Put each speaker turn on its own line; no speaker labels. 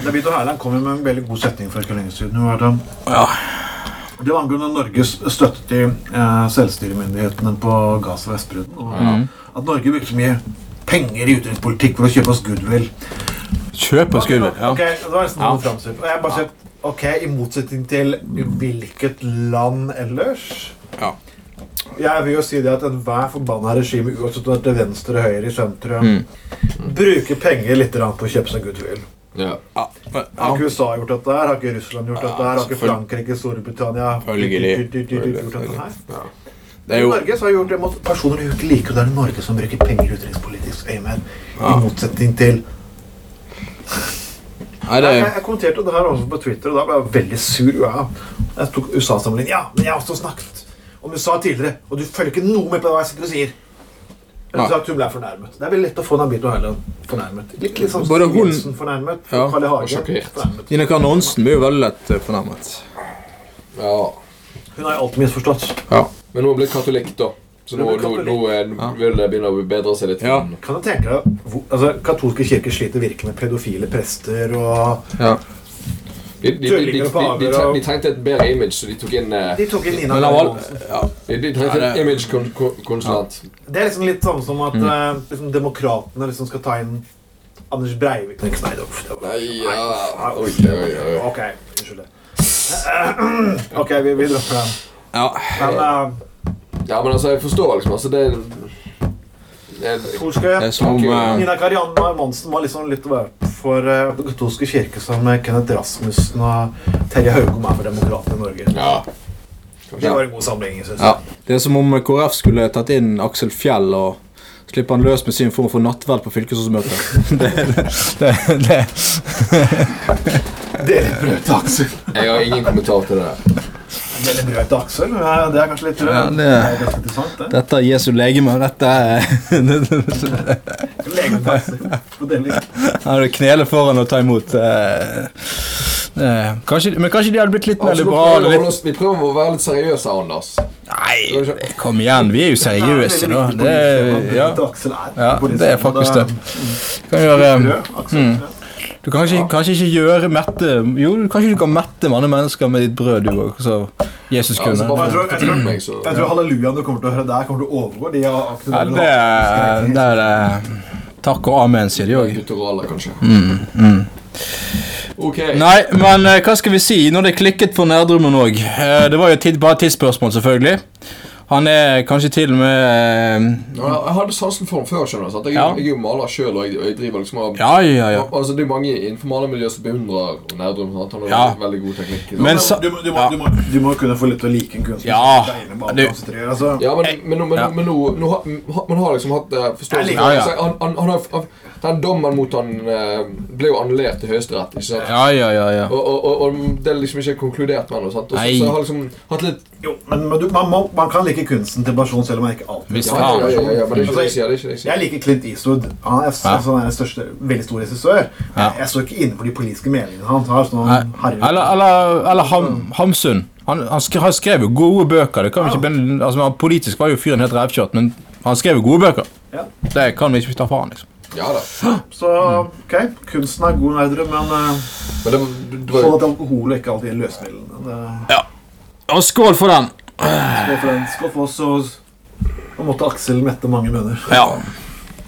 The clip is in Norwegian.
David og Herland kom jo med en veldig god setning for ikke lenge siden. Var det,
Ja.
det var angående Norges støtte til eh, selvstyremyndighetene på Gaza og Vestbredden. Og
Mhm.
At Norge brukte så mye penger i utenrikspolitikk for å kjøpe oss goodwill.
Kjøp og skummel.
Ok,
Ja.
det var nesten
Ja.
noe framstilt. Og jeg bare sier, ok, I motsetning til hvilket land ellers
Ja.
Jeg vil jo si det at enhver forbanna regime, uansett om det er til venstre, høyre, i sentrum,
Mm.
bruker penger litt grann på å kjøpe seg goodwill.
Ja.
Ja. men-
Har
ja.
ikke USA gjort dette her? Har ikke Russland gjort
Ja,
dette her? Har ikke
selvfølgelig.
Frankrike, Storbritannia
Følgelig.
du- du- du- du- du- gjort dette her?
Ja.
Det er jo
Norge så har gjort det mot personer du ikke liker, og det er Norge som bruker penger i utenrikspolitisk øyemed. I motsetning til
Nei, det
jeg,
er
jeg, jeg kommenterte det her også på Twitter, og da ble jeg veldig sur. Ja. Jeg tok USA-sammenligning. Ja, men jeg har også snakket om USA tidligere, og du følger ikke noe med på hva jeg sitter og sier.
Nei.
Jeg sa at hun ble fornærmet. Det er veldig lett å få Nabito Haaland fornærmet. Litt, litt sånn
Både hun-
Jensen fornærmet.
Ja,
Carl I.
og
Hagen
sjokkert.
fornærmet.
Gina Karnonsen blir jo veldig lett eh, fornærmet.
ja.
Hun har jo alltid misforstått.
Ja.
Men hun ble katolikk, da. Så
Hun
nå,
ble
nå, nå er,
Ja.
vil det begynne å bedre seg litt.
Ja.
Kan du tenke deg, hvor- altså, Katolske kirker sliter virkelig med pedofile prester og
ja.
De, de, de, de, de, de, de trengte et bedre image, så de tok inn eh,
De tok inn Nina
Men han var
Johansen.
ja.
De, de trengte
Ja, det-
en image-konsulent.
Det er liksom litt samme som at
Mm.
eh, liksom, demokratene liksom skal ta inn Anders Breivik. Tenk, nei, det var- det var-
Nei, ja.
nei,
Oi,
det var-
oi, oi.
Ok, unnskyld det. Eh, Ok, vi, vi dropper den.
ja.
Men eh,
Ja, men altså, jeg forstår liksom. Altså, det, det
Det er
Torske
som eh,
Nina Karianne Monsen var liksom litt verdt for eh, den katolske kirke som eh, Kenneth Rasmussen og Terje Haugom er for demokratene i Norge.
Ja.
Det var en god sammenligning, synes jeg.
ja. Det er som om KrF skulle tatt inn Aksel Fjell og slippe han løs med sin form for nattverd på fylkesårsmøtet. det, det, det,
Dere brøt til Aksel.
Jeg har ingen kommentar til det. der.
Dere brøt til Aksel? Ja, Det er kanskje litt
Ja, det-
det er ganske interessant, det.
dette er Jesu legeme. Dette er
Legetakser på deling.
Han knele foran og ta imot. eh, eh, kanskje, men kanskje de hadde blitt litt mer
Altså, nå
liberale?
prøver vi å holde
Litt.
oss- vi prøver å være litt seriøse her, Anders.
Nei, kom igjen. Vi er jo seriøse, da.
veldig viktig
Det,
politisk,
er- ja,
at Aksel er
ja,
politisk,
det er
og
faktisk det. Mm. Du kan
er
gjøre um,
brød, Aksel, eh, ja.
Du kan kanskje, kanskje ikke gjøre mette Jo, kanskje du kan mette mange mennesker med ditt brød, du òg. Så Jesus
Ja, altså,
kunne.
bare
Jeg tror- jeg
for meg, så
Jeg tror hallelujaen du kommer til å høre der, kommer til å overgå de av Aksel.
Ja, det, er- det er det. Takk og amen, sier de òg.
Guttoraler, kanskje. Ok.
Mm, Nei, men eh, hva skal vi si? Når det klikket for Nærdrummen òg eh, Det var jo et tid, bare et tidsspørsmål, selvfølgelig. Han er kanskje til og med eh,
Ja, Jeg hadde sansen for ham før, skjønner du. sant? Jeg,
Ja.
jeg er jo maler sjøl, og jeg, og jeg driver liksom av
Ja, ja, ja.
Altså, Det er mange innenfor malermiljøet som beundrer Nerdrum. sant? Han har
Ja.
veldig god teknikk. sant?
Men sa-
du, må- du, må, du, må, du må kunne få litt til å like en kunstner.
Ja,
som tegner med alle
du-
blomstertrær, altså.
ja, men, men, nå- men,
Eh, Ja.
nå- men nå, nå har, ha- man har liksom hatt eh,
Jeg
forståelse
liker-
for
Ja, ja.
altså, han, han, han har, han- Den dommen mot han eh, ble jo annullert til Høyesterett. ikke sant?
Ja, ja, ja. ja.
Og, og, og, og det er liksom ikke konkludert med noe. sant? Og så-
Nei.
så jeg har liksom hatt litt
Jo, men, men du, man, må, man kan like kunsten til person selv om man ikke alltid Altså,
Visst
Ja, ja, ja, ja, ja, men det er ikke det jeg sier. det er ikke det jeg sier.
Jeg liker Clint Eastwood. Han er, altså, han er den største, veldig stor regissør. Jeg, jeg står ikke inne for de politiske meningene han har. Sånn,
Nei,
herre-
Eller, eller, eller ham, Hamsun. Han, han, skrev, han skrev jo gode bøker. Det kan vi ikke begynne, altså, han- Politisk var jo fyren helt revkjørt, men han skrev jo gode bøker.
Ja.
Det kan vi ikke ta fra han, liksom.
Ja da.
Så ok, kunsten er god nerdere, men uh,
Men det, det var
sånn
jo
at alkohol ikke alltid er løsmiddelet. Det-
Og skål for den!
Skål for den. Skål for oss, og og måtte Aksel mette mange bønner.
Ja.